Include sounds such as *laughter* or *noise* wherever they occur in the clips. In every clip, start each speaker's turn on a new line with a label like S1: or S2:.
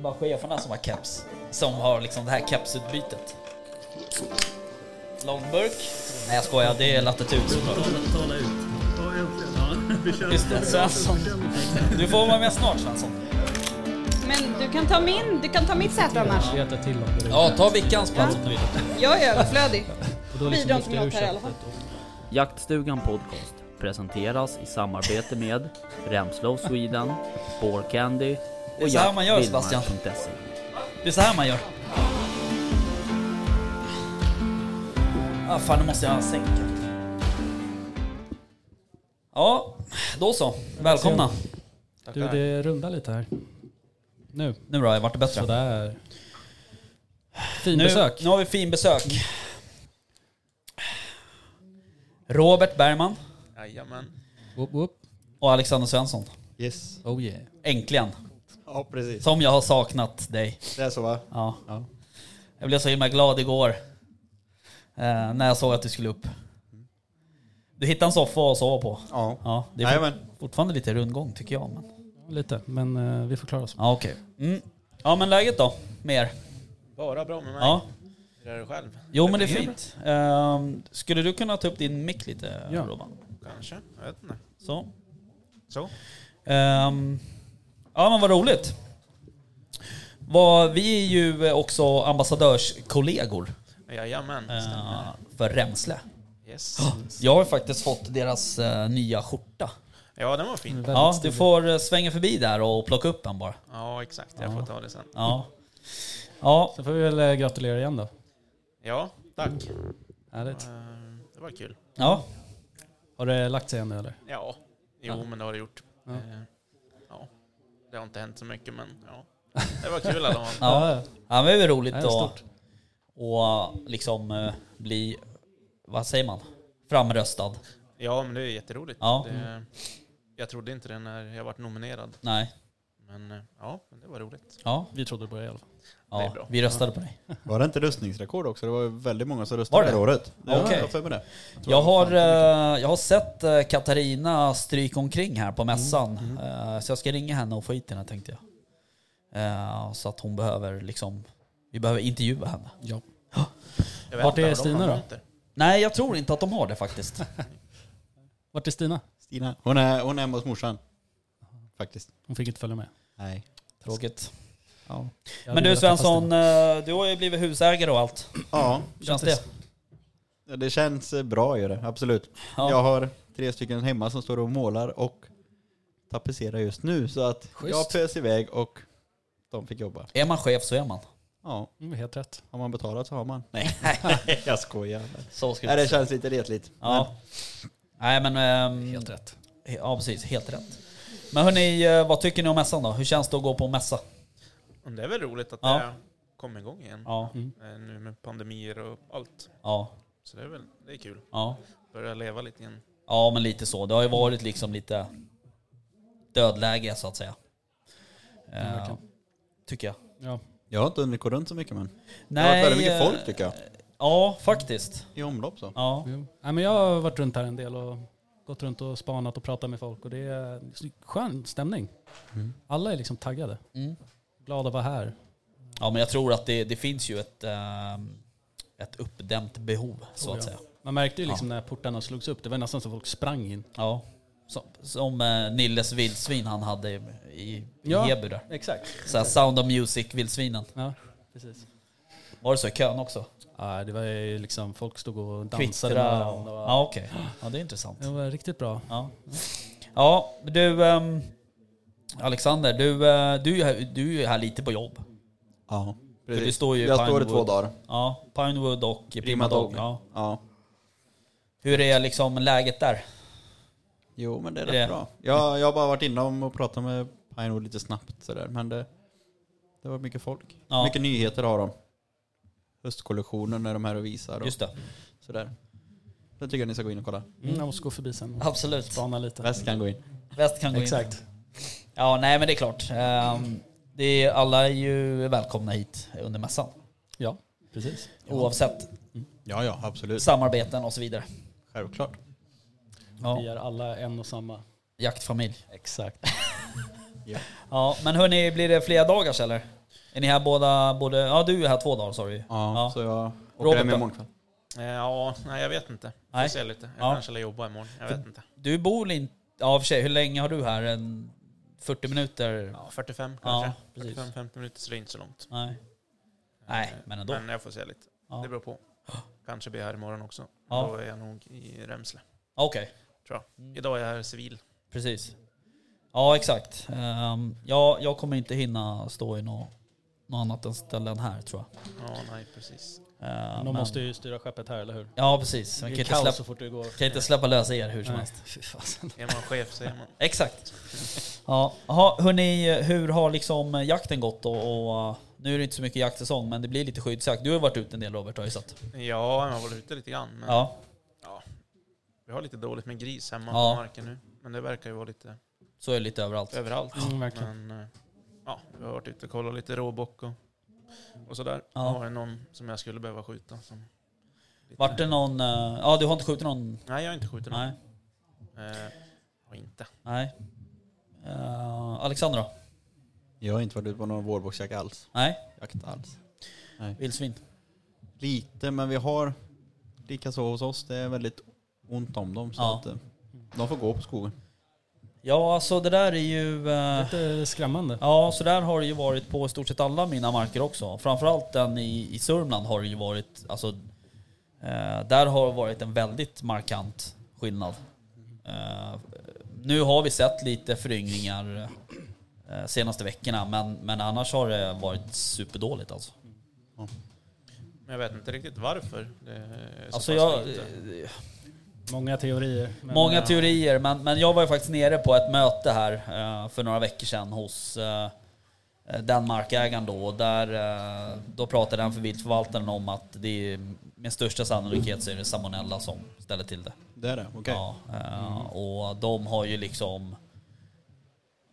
S1: bara cheferna som har keps. Som har liksom det här kepsutbytet. Långburk. Nej jag skojar, det är latitud såklart.
S2: Tala, tala ut. Ja, äntligen. Ja, vi kör.
S1: Just det, Svensson. Du får vara med snart Svensson.
S3: Men du kan ta min, du kan ta mitt säte annars.
S2: Reta till dem.
S1: Ja, ta Vickans plats om du vill.
S3: Jag är överflödig.
S2: Och då liksom
S3: Bidra
S2: lyfter
S3: inte
S2: jag
S3: något här i alla fall.
S2: köttet och-
S4: Jaktstugan Podcast presenteras i samarbete med Remslow Sweden, Bore Candy
S1: Det är
S4: och
S1: så här man gör,
S4: jaktvildmark.se.
S1: Det är så här man gör. Ah, fan, nu måste jag sänka. Ja, då så. Välkomna.
S2: Du, det rundar lite här. Nu.
S1: Nu då, vart det bättre?
S2: Sådär. Fin
S1: nu,
S2: besök.
S1: Nu har vi fin besök. Robert Bergman
S5: Jajamän.
S2: Whoop, whoop.
S1: och Alexander Svensson.
S5: Yes.
S2: Oh yeah.
S1: Äntligen.
S5: Ja, precis.
S1: Som jag har saknat dig.
S5: Det är så va?
S1: Ja. Jag blev så himla glad igår. Eh, när jag såg att du skulle upp. Du hittade en soffa att sova på.
S5: Ja.
S1: Ja, det är
S5: Jajamän.
S1: fortfarande lite rundgång tycker jag. Men...
S2: Lite, men eh, vi får klara oss.
S1: Ja, okej. Mm. Ja, men läget då? Med er?
S5: Bara bra med mig.
S1: Ja.
S5: Hur är det själv?
S1: Jo, men det är fint. Ehm, skulle du kunna ta upp din mick lite,
S2: Ja.
S1: Robban?
S5: Kanske. Jag vet inte.
S1: Så.
S5: Så?
S1: Ehm, ja, men vad roligt. Vad, vi är ju också ambassadörskollegor
S5: Jajamän.
S1: eh,
S5: stämmer.
S1: för Remsle.
S5: Yes.
S1: Jag har faktiskt fått deras eh, nya skjorta.
S5: Ja, den var fin.
S2: Väldigt
S1: Ja, du
S2: stilig.
S1: får eh, svänga förbi där och plocka upp den bara.
S5: Ja, exakt. Jag får ta det sen.
S1: Ja. Ja,
S2: Sen får vi väl eh, gratulera igen då.
S5: Ja, tack.
S2: Härligt.
S5: Eh, Det var kul.
S1: ja.
S2: Har det lagt sig igen nu eller?
S5: Ja. Jo, men det har det gjort.
S2: Ja.
S5: Eh, Ja. Det har inte hänt så mycket, men ja. Det var kul i alla fall.
S1: Ja.
S2: ja.
S1: Ja, men det är väl roligt
S2: Ja, det är
S1: att och liksom eh, bli, vad säger man, framröstad.
S5: Ja, men det är jätteroligt.
S1: Ja.
S5: Det, jag trodde inte det när jag vart nominerad,
S1: Nej.
S5: men eh, ja, men det var roligt.
S1: Ja,
S2: Vi trodde det började i alla fall.
S1: ja
S5: Det är bra.
S1: vi röstade på dig.
S6: Var det inte rustningsrekord också? Det var ju väldigt många som
S1: Var
S6: röstade
S1: det?
S6: det här året. Ja,
S1: Okej.
S6: Jag har för mig det. Jag tror
S1: Jag
S6: det var
S1: har,
S6: fan inte
S1: eh,
S6: mycket.
S1: jag har sett eh, Katarina stryka omkring här på mässan. Eh, Så jag ska ringa henne och få hit henne tänkte jag. Eh, Så att hon behöver liksom, vi behöver intervjua henne.
S2: Ja.
S5: Jag vet
S2: Vart
S5: inte
S2: är
S5: vad de
S2: Stina
S5: har
S2: då?
S5: fått det.
S1: Nej jag tror inte att de har det faktiskt.
S2: Vart är Stina?
S6: Stina. Hon är, hon är hemma hos morsan. Faktiskt.
S2: Hon fick inte följa med.
S6: Nej.
S1: Tråkigt.
S6: Ja.
S2: Jag
S1: Men
S2: hade
S1: du
S2: velat träffa
S1: Svensson,
S2: Stina.
S1: eh, du har ju blivit husägare och allt.
S6: ja,
S1: Känns det?
S6: det känns eh, bra gör det. Absolut.
S1: Ja.
S6: Jag har tre stycken hemma som står och målar och tapetserar just nu. Så att jag pös iväg och de fick jobba.
S1: Är man chef så är man.
S6: Ja,
S2: Mm, helt rätt.
S6: har man betalat så har man. Nej,
S1: *laughs*
S6: jag skojar.
S1: Så ska
S6: Nej, det känns lite retligt.
S1: Ja. Nej men... ehm,
S2: Helt rätt.
S1: Ja precis, helt rätt. Men hörni, eh, vad tycker ni om mässan då? Hur känns det att gå på mässa?
S5: Men Det är väl roligt att
S1: Ja.
S5: det kom igång igen.
S1: Ja,
S5: Eh, Nu med pandemier och allt.
S1: ja,
S5: Så det är väl det är kul.
S1: ja.
S5: Börja leva lite igen.
S1: Ja men lite så. Det har ju varit liksom lite dödläge så att säga. Eh,
S2: verkligen.
S1: tycker jag.
S2: Ja.
S6: Jag har inte hunnit gå runt så mycket men. det har varit väldigt mycket
S1: eh,
S6: folk tycker jag.
S1: Ja faktiskt.
S6: I omlopp så.
S1: Ja.
S2: Jo. Nej, men jag har varit runt här en del och gått runt och spanat och pratat med folk och det är skön stämning. Alla är liksom taggade.
S1: Mm.
S2: Glada att vara här.
S1: ja men jag tror att det, det finns ju ett, ehm, ett uppdämt behov så
S2: Oh,
S1: att
S2: ja.
S1: säga.
S2: Man märkte ju liksom när portarna slogs upp, det var nästan som folk sprang in.
S1: Ja. Som, som eh, Nilles vildsvin han hade i, i
S2: Ja.
S1: Heby där.
S2: Exakt.
S1: Såhär Sound of Music-vildsvinen.
S2: Ja, precis.
S1: Var det så i kön också?
S2: Ja, det var ju liksom, folk stod och dansade med
S1: Twittra och...
S2: varandra. Och,
S1: Ja okej. Ja det är intressant.
S2: Det var riktigt bra.
S1: Ja, ja du ehm, Alexander, du, eh, du, är här- du är ju här lite på jobb.
S6: Ja,
S1: För du
S6: precis.
S1: står ju i
S6: Jag står i
S1: Pinewood.
S6: två dagar.
S1: Ja, Pinewood och Prima
S6: Prima
S1: Dog.
S6: Dog.
S1: Ja.
S6: Ja.
S1: Hur är liksom läget där?
S6: Jo men det är
S1: Är det-
S6: rätt bra. Jag, jag har bara varit inom och pratat med Pinewood lite snabbt sådär. Men det, det var mycket folk.
S1: Ja.
S6: Mycket nyheter har de. Höstkollektionen när de här och visar och
S1: Just det.
S6: sådär. Det tycker jag ni ska gå in och kolla.
S2: Mm. Jag måste gå förbi sen och
S1: Absolut.
S2: spana lite.
S6: Väst kan gå in.
S1: Väst kan gå in.
S2: Exakt.
S1: Ja, nej men det är klart. Ehm, det är, alla är ju välkomna hit under mässan.
S2: Ja, precis.
S1: Oavsett
S6: Ja ja, absolut.
S1: samarbeten och så vidare.
S6: Självklart.
S1: Ja.
S2: Vi är alla en och samma.
S1: Jaktfamilj.
S2: Exakt.
S1: Ja, men hörni, blir det flera dagar eller? Är ni här båda, både, ja du är här två dagar sa du ju.
S6: Ja,
S1: Ja.
S6: så jag åker
S1: Robert
S6: hem
S1: då?
S6: imorgon kväll.
S5: Eh, Ja, nej jag vet inte. Får
S1: Nej.
S5: se lite. Jag
S1: Ja.
S5: kanske lär jobba imorgon. Jag vet inte.
S1: Du bor väl inte, ja i och för sig, hur länge har du här? En 40 minuter?
S5: Ja, 45
S1: Ja,
S5: kanske.
S1: precis.
S5: 45-50 minuter så det är inte så långt.
S1: Nej. Nej, men ändå.
S5: Men jag får se lite.
S1: Ja.
S5: Det beror på. Kanske blir jag här imorgon också.
S1: Ja. Mm.
S5: Då är jag nog i Remsle.
S1: Okej,
S5: Tror jag. Idag är jag här civil.
S1: precis. Ja exakt. Ehm, ja, jag kommer inte hinna stå i något, något annat än ställe än här tror jag.
S5: Ja, nej precis.
S1: Ehm,
S2: Någon
S1: men-
S2: måste ju styra skeppet här, eller hur?
S1: Ja precis, man
S2: Det
S1: kan
S2: är
S1: ju inte,
S2: kaos
S1: släppa,
S2: så fort du går.
S1: kan ju inte släppa lösa er hur som
S2: Nej.
S1: helst. Fy fasen.
S5: Är man chef så är man.
S1: Exakt. Ja, aha, hörni, hur har liksom jakten gått då? Och, uh, nu är det inte så mycket jaktsäsong, men det blir lite skyddsjakt. Du har ju varit ute en del Robert, har jag ju sett. *laughs*
S5: Ja, man har varit ute lite grann. Men
S1: Ja,
S5: Vi har lite dåligt med gris hemma
S1: Ja.
S5: på marken nu. Men det verkar ju vara lite
S1: så är det lite överallt.
S5: överallt.
S2: Mm, verkligen.
S5: Men eh, ja, vi har varit ute och kollat lite råbock och, och sådär.
S1: Ja.
S5: Har det någon som jag skulle behöva skjuta. Som lite-
S1: Vart det någon... eh, Ja, du har inte skjutit någon?
S5: Nej, jag har inte skjutit någon.
S1: Nej.
S5: Eh, har inte.
S1: Nej. Eh, Alexander då?
S6: Jag har inte varit ute på någon vårboxjakt alls.
S1: Nej.
S6: Jakt alls.
S1: Vildsvin?
S6: Lite, men vi har likaså hos oss, det är väldigt ont om dem. Så
S1: Ja.
S6: att, eh, de får gå på skogen.
S1: Ja, alltså det där är ju... eh,
S2: Lite skrämmande.
S1: Ja, så där har det ju varit på i stort sett alla mina marker också. Framförallt den i, i Sörmland har det ju varit, alltså, eh, där har det varit en väldigt markant skillnad. Eh, nu har vi sett lite föryngringar eh, senaste veckorna, men, men annars har det varit superdåligt alltså.
S5: Men jag vet inte riktigt varför. Det är så
S1: alltså
S5: pass
S1: jag,
S5: lite.
S2: Många teorier. men-
S1: Många teorier, men, men jag var ju faktiskt nere på ett möte här eh, för några veckor sedan hos eh, den markägaren då. Och Där, eh, då pratade han för viltförvaltaren om att det är, med största sannolikhet så är det salmonella som ställer till det.
S6: Det är det, okej.
S1: Ja, eh, och de har ju liksom,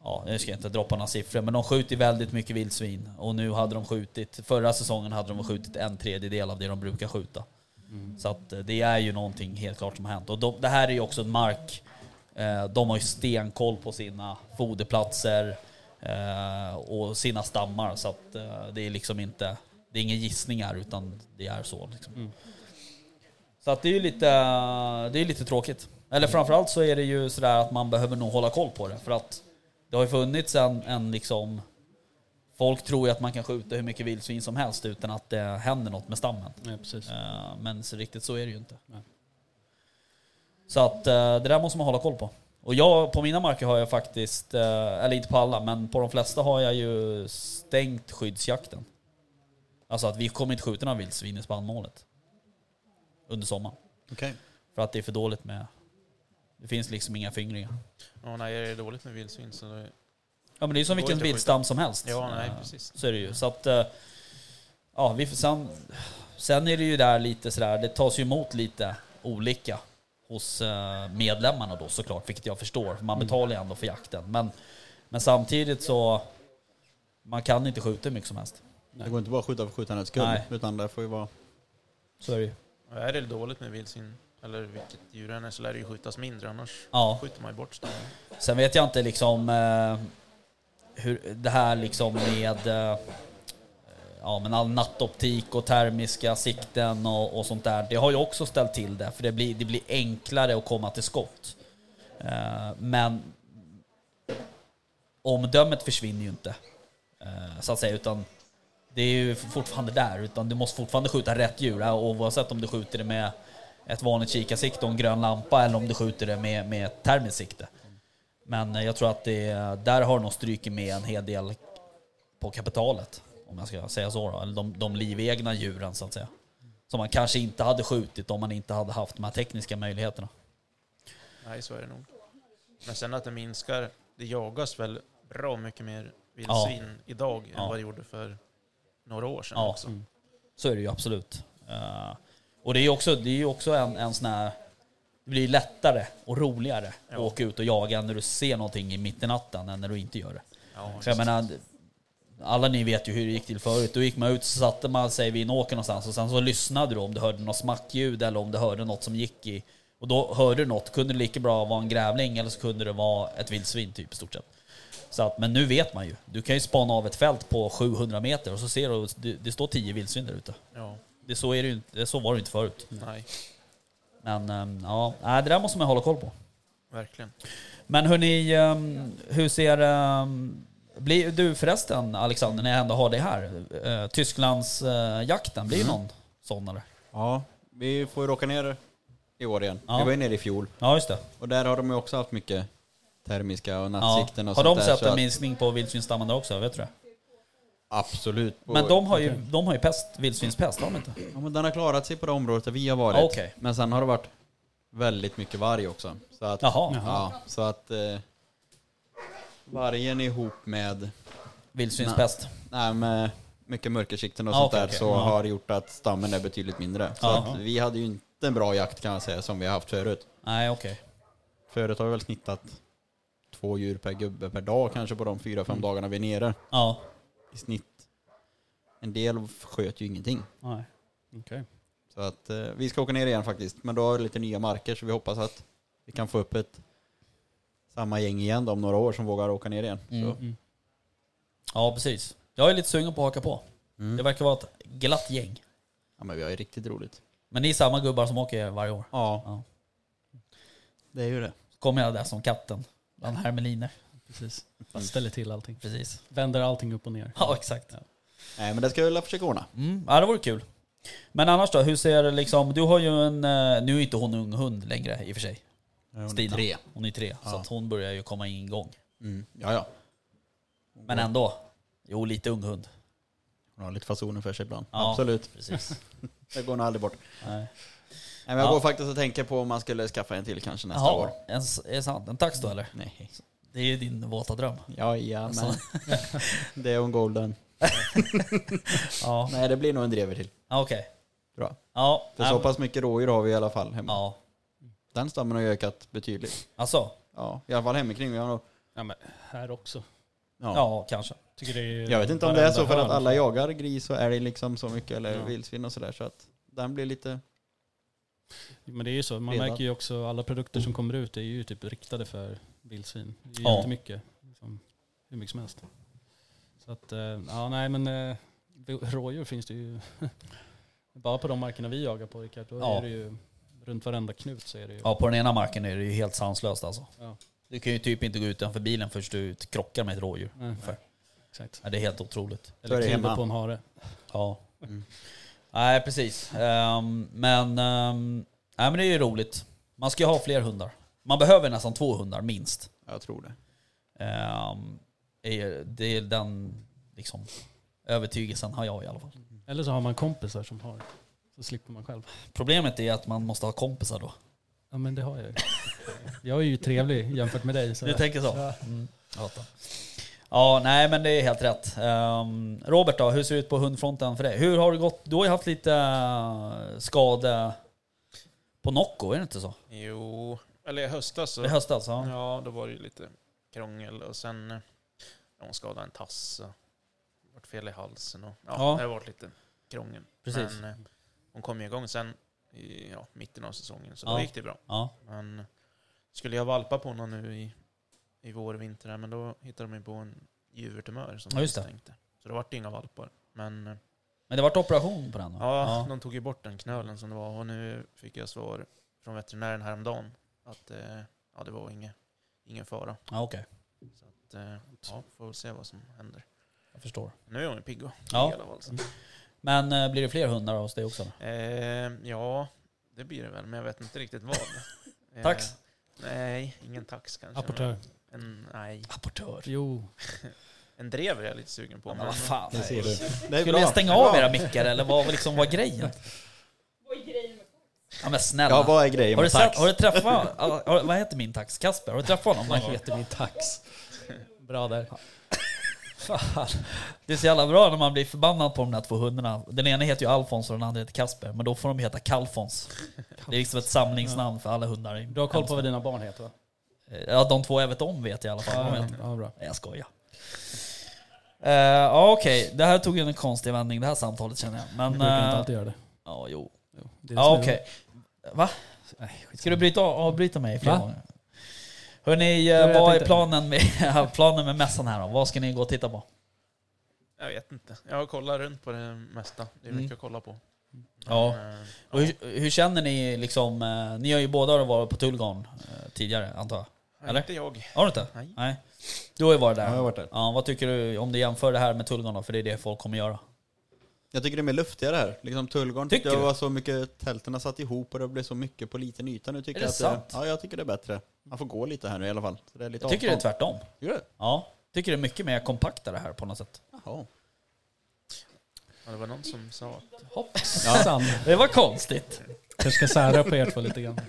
S1: ja, nu ska jag inte droppa några siffror, men de skjuter väldigt mycket vildsvin. Och nu hade de skjutit, förra säsongen hade de skjutit en tredjedel av det de brukar skjuta. Så att eh, det är ju någonting helt klart som har hänt. Och de, det här är ju också en mark, eh, de har ju stenkoll på sina foderplatser eh, och sina stammar. Så att eh, det är liksom inte, det är inga gissningar utan det är så. Liksom. Så att det är ju lite, det är lite tråkigt. Eller framförallt så är det ju sådär att man behöver nog hålla koll på det. För att det har ju funnits en, en liksom... Folk tror ju att man kan skjuta hur mycket vildsvin som helst utan att det händer något med stammen.
S2: Ja, precis.
S1: Eh, Men så riktigt så är det ju inte.
S2: Nej.
S1: Så att eh, det där måste man hålla koll på. Och jag, på mina marker har jag faktiskt, eh, eller inte på alla, men på de flesta har jag ju stängt skyddsjakten. Alltså att vi kommer inte skjuta några vildsvin i spannmålet. Under sommaren.
S6: Okej.
S1: För att det är för dåligt med... Det finns liksom inga fingringar.
S5: Ja, nej, det är dåligt med vildsvin så det...
S1: Ja men det är ju som
S5: Det går
S1: vilken
S5: inte att
S1: viltstam som helst.
S5: Ja, nej
S1: Eh,
S5: precis.
S1: Så är det ju. Så att... eh, Ja, vi får sen... Sen är det ju där lite sådär, det tas ju emot lite olika hos eh, medlemmarna då såklart, vilket jag förstår. Man betalar ju ändå för jakten. Men, men samtidigt så... Man kan inte skjuta hur mycket som helst.
S6: Det går inte bara att skjuta för skjutandets skull.
S1: Nej.
S6: Utan det får ju vara...
S1: Så är det ju.
S5: Och Är det dåligt med vildsvin, eller vilket djur det än är, så lär det ju skjutas mindre. Annars
S1: Ja.
S5: skjuter man ju bort stammen.
S1: Sen vet jag inte liksom eh, hur det här liksom med eh, ja, men all nattoptik och termiska sikten och, och sånt där. Det har ju också ställt till det för det blir, det blir enklare att komma till skott. Eh, men omdömet försvinner ju inte eh, så att säga utan det är ju fortfarande där utan du måste fortfarande skjuta rätt djur eh, oavsett om du skjuter det med ett vanligt kikarsikte och en grön lampa eller om du skjuter det med, med ett termiskt sikte. Men eh, jag tror att det, där har nog strykit med en hel del på kapitalet, om jag ska säga så. Då. Eller de, de livegna djuren så att säga. Som man kanske inte hade skjutit om man inte hade haft de här tekniska möjligheterna.
S5: Nej, så är det nog. Men sen att det minskar, det jagas väl bra mycket mer vildsvin idag
S1: Ja.
S5: än vad det gjorde för några år sedan
S1: Ja. mm.
S5: också.
S1: Så är det ju absolut. Eh, och det är ju också, det är ju också en, en sån här... Det blir lättare och roligare att
S5: Ja.
S1: åka ut och jaga när du ser någonting i mitten i natten än när du inte gör det.
S5: Ja,
S1: Så jag menar, alla ni vet ju hur det gick till förut. Då gick man ut så satte man sig vid en åker någonstans och sen så lyssnade du om du hörde något smackljud eller om du hörde något som gick i... Och då hörde du något, kunde det lika bra vara en grävling eller så kunde det vara ett vildsvin typ i stort sett. Så att, men nu vet man ju. Du kan ju spana av ett fält på 700 meter och så ser du det, det står 10 vildsvin där ute.
S5: Ja,
S1: Det, så, är det ju, inte- så var det ju inte förut.
S5: nej,
S1: Men ehm, ja, nej, det där måste man hålla koll på.
S5: verkligen.
S1: Men hörni, ehm, hur ser... ehm, blir du förresten Alexander, när jag ändå har dig här, uh, Tysklands eh, jakten blir ju
S6: Mm.
S1: någon sån eller?
S6: Ja, vi får ju åka ner i år igen.
S1: Ja.
S6: Vi var ju nere i fjol
S1: Ja just det.
S6: och där har de ju också haft mycket termiska och
S1: Ja.
S6: nattsikten och
S1: Har
S6: sånt
S1: de
S6: där,
S1: sett
S6: så
S1: en
S6: att-
S1: minskning på vildsvinsstammen där också? Vet du det?
S6: Absolut.
S1: Men de har ju, de har ju pest, vildsvinspest, har de inte?
S6: Ja, men den har klarat sig på det området där vi har varit.
S1: Ja, okej.
S6: Men sen har det varit väldigt mycket varg också. Så att,
S1: Jaha.
S6: Ja, så att eh, vargen ihop med,
S1: Vildsvinspest.
S6: nej, med mycket mörkersikten och
S1: Ja,
S6: sånt
S1: okej,
S6: där
S1: okej.
S6: så
S1: Ja.
S6: har gjort att stammen är betydligt mindre. Så
S1: Ja.
S6: att vi hade ju inte en bra jakt kan jag säga som vi har haft förut.
S1: Nej okej.
S6: Förut har vi väl snittat två djur per gubbe per dag kanske på de fyra, fem
S1: Mm.
S6: dagarna vi är nere
S1: Ja.
S6: i snitt. En del sköt ju ingenting.
S1: Nej.
S2: Okej.
S6: Så att eh, vi ska åka ner igen faktiskt. Men då har vi lite nya marker så vi hoppas att vi kan få upp ett samma gäng igen då, om några år som vågar åka ner igen. Så.
S1: Mm. Ja precis. Jag är lite sugen på att haka på.
S6: Mm.
S1: Det verkar vara ett glatt gäng.
S6: Ja men vi har ju riktigt roligt.
S1: Men ni är samma gubbar som åker varje år.
S6: Ja.
S1: Ja.
S6: Det är ju det.
S1: Kommer jag där som katten bland hermeliner.
S2: Precis. Bara ställer till allting.
S1: Precis.
S2: Vänder allting upp och ner.
S1: Ja exakt.
S6: Nej men det ska vi väl försöka ordna.
S1: Mm, ja, det vore kul. Men annars då, hur ser det liksom, du har ju en, eh, nu är inte hon ung hund längre i och för sig. Stina.
S6: tre.
S1: Hon är tre, så
S6: Ja.
S1: att hon börjar ju komma in gång.
S6: Mm. Ja ja.
S1: Men ändå, jo lite ung hund.
S6: Hon har lite fasoner för sig ibland.
S1: Ja.
S6: Absolut.
S1: Precis.
S6: *laughs* Det går nog aldrig bort.
S1: Nej.
S6: Nej, men jag
S1: Ja.
S6: går faktiskt och tänker på om man skulle skaffa en till kanske nästa år. Mm.
S1: Jaha, en, s- är det sant? En tax då eller?
S6: Nej.
S1: Det är ju din våta dröm.
S6: Ja, ja men.
S1: Alltså.
S6: *laughs* det är en golden.
S1: *laughs* Ja,
S6: Nej det blir nog en drever till.
S1: Ja, okej.
S6: Bra.
S1: Ja,
S6: För
S1: nej,
S6: så
S1: men-
S6: pass mycket rådjur har vi i alla fall hemma.
S1: Ja,
S6: Den stammen har ju ökat betydligt.
S1: alltså,
S6: Ja, i alla fall hemmikring. Vi har nog,
S2: Ja, men här också.
S1: ja.
S6: ja.
S1: kanske.
S2: Tycker det är
S6: Jag vet inte om det är så för
S2: varenda
S6: att
S2: hörn.
S6: alla jagar gris och älg liksom så mycket eller
S2: Ja.
S6: vildsvin och sådär så att den blir lite...
S2: Men det är ju så, man
S6: Redan.
S2: märker ju också alla produkter som kommer ut är ju typ riktade för vildsvin. Det är
S1: Mm. Ja.
S2: ja. jättemycket. Liksom, hur mycket som helst. Så att, eh, ja nej men eh, rådjur finns det ju. *laughs* Bara på de markerna vi jagar på Rickard, då
S1: Ja.
S2: är det ju runt varenda knut så är det ju.
S1: Ja, på den ena marken är det ju helt sanslöst alltså.
S2: Ja.
S1: Du kan ju typ inte gå utanför bilen först du krockar med ett rådjur.
S2: Nej,
S1: Ungefär.
S2: exakt.
S1: Ja, det är helt otroligt.
S6: är
S2: Eller
S6: det hemma.
S2: kliver på en hare.
S1: Ja. Mm. Nej, precis. Ehm, men, ehm, nej, men det är ju roligt. Man ska ju ha fler hundar. Man behöver nästan två hundar minst.
S6: Jag tror det.
S1: Ehm, är- det är den liksom, övertygelsen har jag i alla fall.
S2: Eller så har man kompisar som har. Så slipper man själv.
S1: Problemet är att man måste ha kompisar då.
S2: Ja men det har jag ju. *laughs* Jag är ju trevlig jämfört med dig. Så
S1: Du tänker så?
S2: Ja.
S1: Mm, jag hatar. Ja, nej men det är helt rätt. Ehm, Robert då, hur ser det ut på hundfronten för dig? Hur har det gått? Du har ju haft lite eh, skada på Nocco, är det inte så?
S5: Jo, eller i höstas så...
S1: I höstas? Ja.
S5: Ja, då var det ju lite krångel och sen eh, hon skadade en tass och vart fel i halsen och ja,
S1: Ja.
S5: det har varit lite krångel.
S1: Precis.
S5: Men eh, hon kom ju igång sen i ja, mitten av säsongen så
S1: Ja.
S5: då gick det bra.
S1: ja.
S5: Men skulle jag valpa på honom nu i, i vår och vinter här, men då hittade de ju på en djurtumör som
S1: Ja,
S5: de
S1: just det.
S5: misstänkte. Så det vart ju inga valpar. Men eh,
S1: Men det vart operation på den då?
S5: ja, de tog ju bort den knölen som det var och nu fick jag svar från veterinären häromdagen att eh, ja, det var inget, ingen fara.
S1: ja okej.
S5: Så att, eh, ja, får väl se vad som händer.
S1: Jag förstår.
S5: Nu är hon ju pigg och
S1: Ja.
S5: ja. hela valsen.
S1: Men eh, blir det fler hundar hos dig också?
S5: Eh, ja, det blir det väl, men jag vet inte riktigt
S1: *laughs*
S5: vad. Eh,
S1: Tax?
S5: Nej, ingen tax kanske.
S2: Apportör.
S5: men En, nej,
S1: Apportör.
S2: Jo.
S5: en drever är jag lite sugen på.
S1: Ja, men
S5: men
S1: vad fan.
S6: Det ser du. Det
S1: Skulle jag stänga av era mickar eller vad liksom var grejen?
S3: Vad är grejen med
S1: Ja men snälla.
S6: Ja vad är grejen
S1: har, du
S6: med
S1: sett,
S6: tax?
S1: har du träffat, har, vad heter min tax? Kasper? Har du träffat honom någon gång?
S2: heter min tax. Bra där.
S1: Fan. Det är så jävla bra när man blir förbannad på de där två hundarna. Den ena heter ju Alfons och den andra heter Kasper, men då får de heta Kalfons. Det är liksom ett samlingsnamn för alla hundar. Eh,
S2: Du har koll på vad dina barn heter va?
S1: Ja, de två jag vet om vet jag i alla fall. De vet.
S2: ja bra.
S1: Nej, Jag skojar. Eh, Ja Okej, det här tog ju en konstig vändning det här samtalet känner jag. Men...
S2: Jag brukar inte
S1: eh,
S2: alltid göra det.
S1: Ja, jo.
S2: Det är
S1: Ja,
S2: som
S1: okej. Va?
S2: jag- Nej,
S1: Ska du bryta, avbryta mig flera
S2: Va?
S1: gånger? Hörni,
S2: jag
S1: vad är
S2: tänkte-
S1: planen med, *laughs* planen med mässan här då? Vad ska ni gå och titta på?
S5: Jag vet inte. Jag kollar runt på det mesta. Det är mycket att kolla på.
S1: Mm. Ja.
S5: Men, eh,
S1: Och hur, hur känner ni liksom, eh, ni har ju båda varit på Tullgarn eh, tidigare antar jag? eller?
S5: Inte jag.
S1: Har du inte?
S5: Nej.
S1: Du har ju varit där.
S6: Ja, jag har varit där.
S1: Ja, vad tycker du om du jämför det här med Tullgarn då? För det är det folk kommer göra.
S6: Jag tycker det är mer luftigare här. Liksom Tullgarn
S1: Tycker
S6: tyckte jag
S1: du?
S6: var så mycket, tälterna satt ihop och det blev så mycket på liten yta. Nu tycker
S1: Är det
S6: jag att
S1: sant?
S6: Det, ja, jag tycker det är bättre. Man får gå lite här nu i alla fall. Så det är lite
S1: Jag tycker det är
S6: avstånd.
S1: tvärtom.
S6: Tycker du?
S1: Ja, tycker det är mycket mer kompaktare här på något sätt.
S6: Jaha.
S5: Ja, det var någon som sa att
S2: Hoppsan.
S1: Det var konstigt.
S2: Kanske ska sära på er två
S1: *laughs*
S2: lite grann.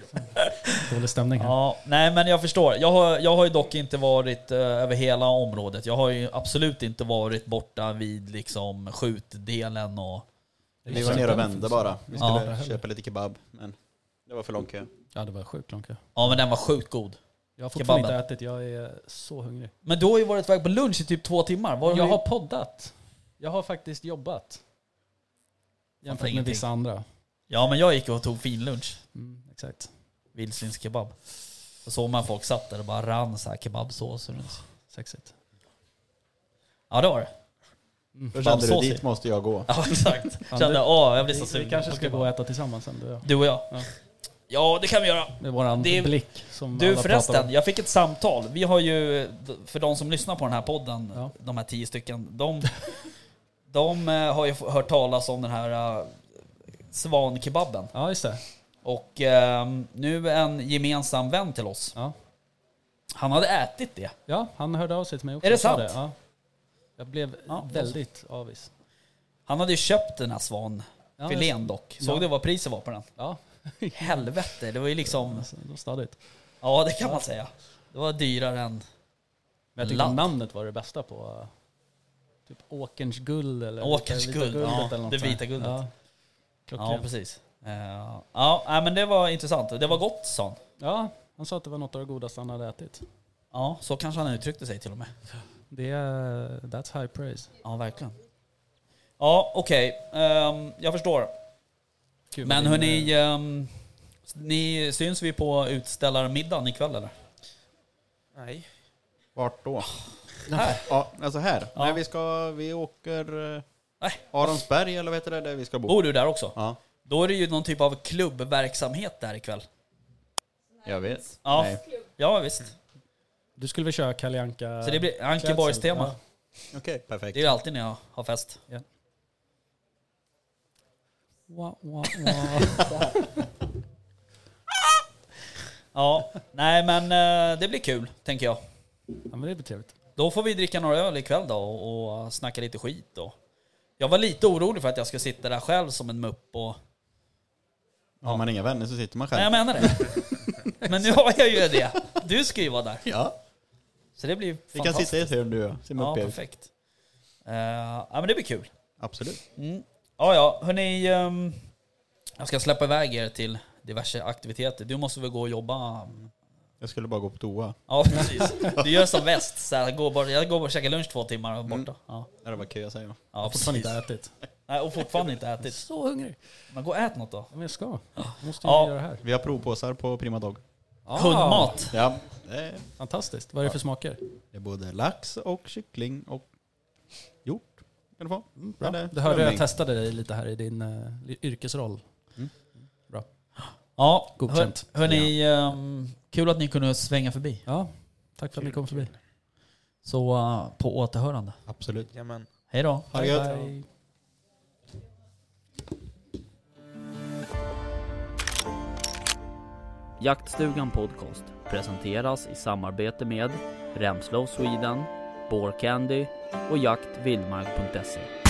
S2: Dålig stämning här.
S1: Ja, nej men jag förstår. Jag har, jag har ju dock inte varit eh, över hela området. Jag har ju absolut inte varit borta vid liksom skjutdelen och...
S6: Vi var nere och vände bara. Vi
S1: Ja. Mm.
S6: skulle köpa lite kebab, men det var för lång kö.
S2: Ja, det var sjukt lång kö.
S1: Ja men den var sjukt god.
S2: Jag har fortfarande
S1: Kebaben.
S2: inte ätit, jag är så hungrig.
S1: Men du har ju varit iväg på lunch i typ två timmar. Var har
S2: Jag
S1: du-
S2: har poddat. Jag har faktiskt jobbat. Jämfört med
S1: ingenting.
S2: vissa andra.
S1: Ja men jag gick och tog finlunch.
S2: Mm, exakt.
S1: Vildsvinskebab. Då såg man folk satt där och bara rann så här kebabsås runt.
S2: Sexigt.
S1: Ja det var det.
S6: Då kände du,
S1: Kebabsås i.
S6: dit måste jag gå.
S1: Ja exakt.
S2: Ja,
S1: Kände
S2: du-
S1: åh *laughs* jag blir så
S2: Vi,
S1: sugen.
S2: vi kanske ska
S1: på
S2: gå och
S1: kebab."
S2: äta tillsammans sen du och jag.
S1: Du och jag.
S2: Ja.
S1: Ja det kan vi göra.
S2: Med våran
S1: Det-
S2: blick som
S1: Du
S2: alla pratar
S1: förresten,
S2: om.
S1: jag fick ett samtal. Vi har ju, för de som lyssnar på den här podden,
S2: Ja.
S1: de här tio stycken, de, de eh, har ju f- hört talas om den här eh, svankebabben.
S2: Ja, just det.
S1: Och ehm, nu en gemensam vän till oss,
S2: Ja.
S1: han hade ätit det.
S2: ja, han hörde av sig till mig också.
S1: Är det
S2: och sa
S1: sant?
S2: Ja. Jag blev
S1: Ja,
S2: väldigt avis.
S1: Han hade ju köpt den här svanfilén
S2: Ja,
S1: dock. Såg
S2: Ja.
S1: du vad priset var på den? *laughs*
S2: Ja,
S1: Helvete, det var ju liksom,
S2: alltså, det var stadigt.
S1: ja det kan man säga. Det var dyrare än,
S2: Men jag
S1: Ladd.
S2: tyckte namnet var det bästa på eh, typ Åkerns guld eller
S1: Åkerns
S2: Vita
S1: guld,
S2: guldet
S1: ja,
S2: eller något
S1: det
S2: sånt.
S1: vita guldet.
S2: Ja,
S1: ja
S2: Klockrent.
S1: precis. Eh, Ja, nej, men det var intressant. Det var gott sa han.
S2: Ja, han sa att det var något av det godaste han hade ätit.
S1: Ja, så kanske han uttryckte sig till och med.
S2: Det är, that's high praise.
S1: Ja, verkligen. Ja, okej. Ehm, jag förstår.
S2: Kul
S1: Men
S2: med din,
S1: hörni, um, ni syns vi på utställarmiddagen ikväll eller?
S5: nej.
S6: Vart då?
S1: Ah. Här.
S6: Ja, alltså här.
S1: Ja.
S6: Nej, vi, ska, vi åker eh,
S1: Nej. Oh.
S6: Aronsberg eller vad heter det där vi ska bo?
S1: Bor du där också?
S6: Ja,
S1: Då är det ju någon typ av klubbverksamhet där ikväll.
S6: jag vet.
S1: Ja,
S6: Nej.
S1: ja visst.
S2: Du skulle väl köra Kalle Anka...
S1: Så det blir Ankeborgstema.
S2: klädsel.
S6: Okej, perfekt.
S1: Det är ju alltid när jag har fest.
S2: Ja. Wah, wah, wah. *laughs*
S1: Ja, nej men eh, det blir kul, tänker jag.
S2: ja, men det blir trevligt.
S1: Då får vi dricka några öl ikväll då och, och snacka lite skit då. Jag var lite orolig för att jag ska sitta där själv som en mupp och
S6: Har man inga vänner så sitter man själv.
S1: Nej, jag menar det. Men nu har jag ju det. Du ska ju vara där.
S6: Ja,
S1: Så det blir
S6: vi kan
S1: fantastiskt.
S6: sitta i ett hörn du och jag. Simma
S1: Ja,
S6: upp er.
S1: perfekt. Eh, ja, men det blir kul.
S6: Absolut.
S1: Mm. Ja, ja, hörni. ehm, jag ska släppa iväg er till diverse aktiviteter. Du måste väl gå och jobba? mm.
S6: Jag skulle bara gå på toa.
S1: Ja, precis. Du gör som väst. Så här, går bara, jag går bara och käkar lunch två timmar och borta.
S6: Mm.
S1: Ja,
S6: Nej, det var kö säger jag.
S1: ja
S2: Fortfarande
S1: precis.
S2: inte ätit.
S1: *laughs* Nej, och fortfarande inte ätit.
S2: Så hungrig.
S1: Men gå och ät något då.
S2: Ja, men jag ska. Jag måste ju
S1: Ja.
S2: göra det här.
S6: Vi har provpåsar på Prima Dog.
S2: Ah,
S1: Hundmat.
S6: Ja. Det är-
S2: Fantastiskt. Vad är det för smaker?
S6: det är både lax och kyckling och hjort. Kan du få?
S2: Bra.
S6: Eller
S2: Du hörde jag
S6: strömming.
S2: testade dig lite här i din eh, yrkesroll.
S1: Ja,
S2: Godkänt.
S1: Hör, hörni, ehm, kul att ni kunde svänga förbi.
S2: Ja, tack för att ni kom förbi.
S1: Så eh, på återhörande.
S6: Absolut.
S5: Jajamän.
S1: Hej då.
S6: Ha det gött.
S2: Bye.
S4: Jaktstugan Podcast presenteras i samarbete med Remslow Sweden, Boar Candy och jaktvildmark.se.